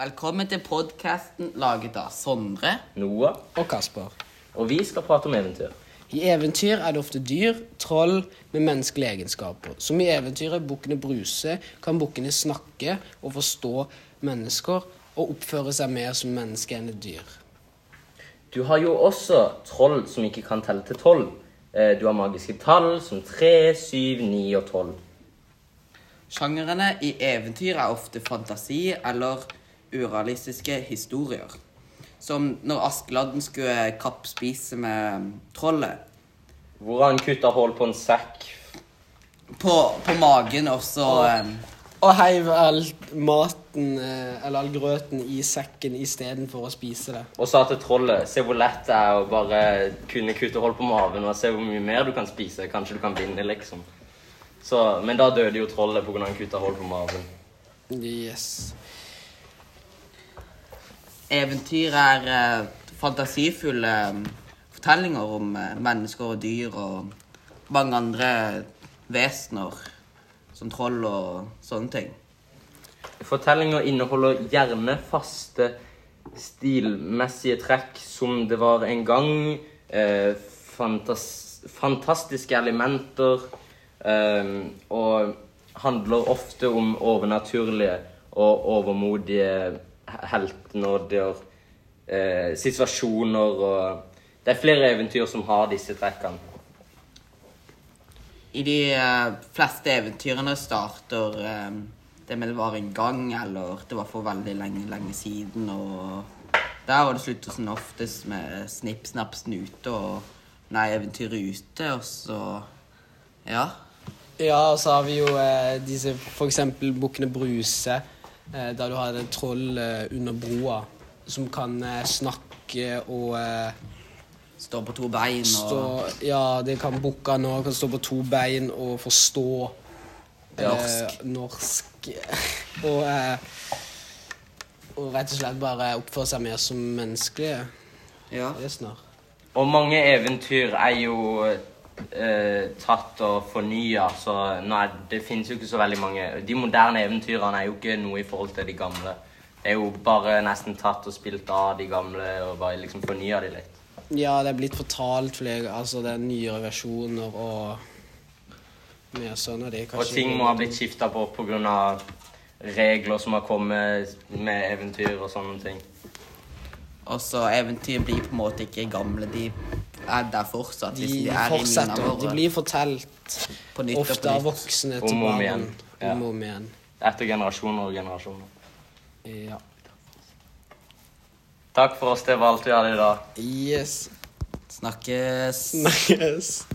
Velkommen til podkasten laget av Sondre. Noah, og Kasper. og vi skal prate om eventyr. I eventyr er det ofte dyr, troll med menneskelige egenskaper. Som i eventyret Bukkene Bruse kan bukkene snakke og forstå mennesker og oppføre seg mer som mennesker enn et dyr. Du har jo også troll som ikke kan telle til tolv. Eh, Du har magiske tall som tre, syv, ni og tolv. Sjangrene i eventyr er ofte fantasi eller urealistiske historier. Som når Askeladden skulle kappspise med trollet. Hvor han kutta hull på en sekk. På, på magen, og så eh, Og heiv all maten, eh, eller all grøten, i sekken istedenfor å spise det. Og sa til trollet se hvor lett det er å bare kunne kutte hull på maven. Og se hvor mye mer du kan spise. Kanskje du kan vinne, liksom. Så, men da døde jo trollet pga. han kutta hull på maven. Yes. Eventyr er eh, fantasifulle eh, fortellinger om eh, mennesker og dyr og mange andre vesener. Som troll og sånne ting. Fortellinger inneholder gjerne faste stilmessige trekk som det var en gang. Eh, fantas fantastiske elementer. Eh, og handler ofte om overnaturlige og overmodige he- heltenåder. Eh, situasjoner og Det er flere eventyr som har disse trekkene. I de eh, fleste eventyrene starter eh, det med det var en gang, eller det var for veldig lenge, lenge siden, og der, og det slutter som oftest med snipp, snapp, snute, og nei, eventyret ute, og så, ja. Ja, og så har vi jo eh, disse for eksempel Bukkene Bruse, eh, der du har et troll eh, under broa som kan eh, snakke og eh, Står på to bein, og stå Ja, det kan bukke nå, kan stå på to bein og forstå eh, Norsk. norsk. og, eh, og rett og slett bare oppføre seg mer som menneskelige ja. vesener. Og mange eventyr er jo eh, tatt og fornya, så nei, det finnes jo ikke så veldig mange. De moderne eventyrene er jo ikke noe i forhold til de gamle. Det er jo bare nesten tatt og spilt av de gamle og bare liksom fornya de litt. Ja, det er blitt fortalt flere Altså, det er nyere versjoner og mer sånn, og det er Og kanskje ting må ha blitt skifta på pga. regler som har kommet med eventyr og sånne ting. Og så eventyr blir på en måte ikke gamle, de er der fortsatt, De hvis de er i fortsetter. munnen De våre. blir fortalt På nytt og på ofte av nytt. voksne til Om og om barn. igjen. Ja. Om og om igjen. Etter generasjoner og generasjoner. Ja. Takk for oss, det var alt vi hadde i dag. Yes. Snakkes. Snakkes.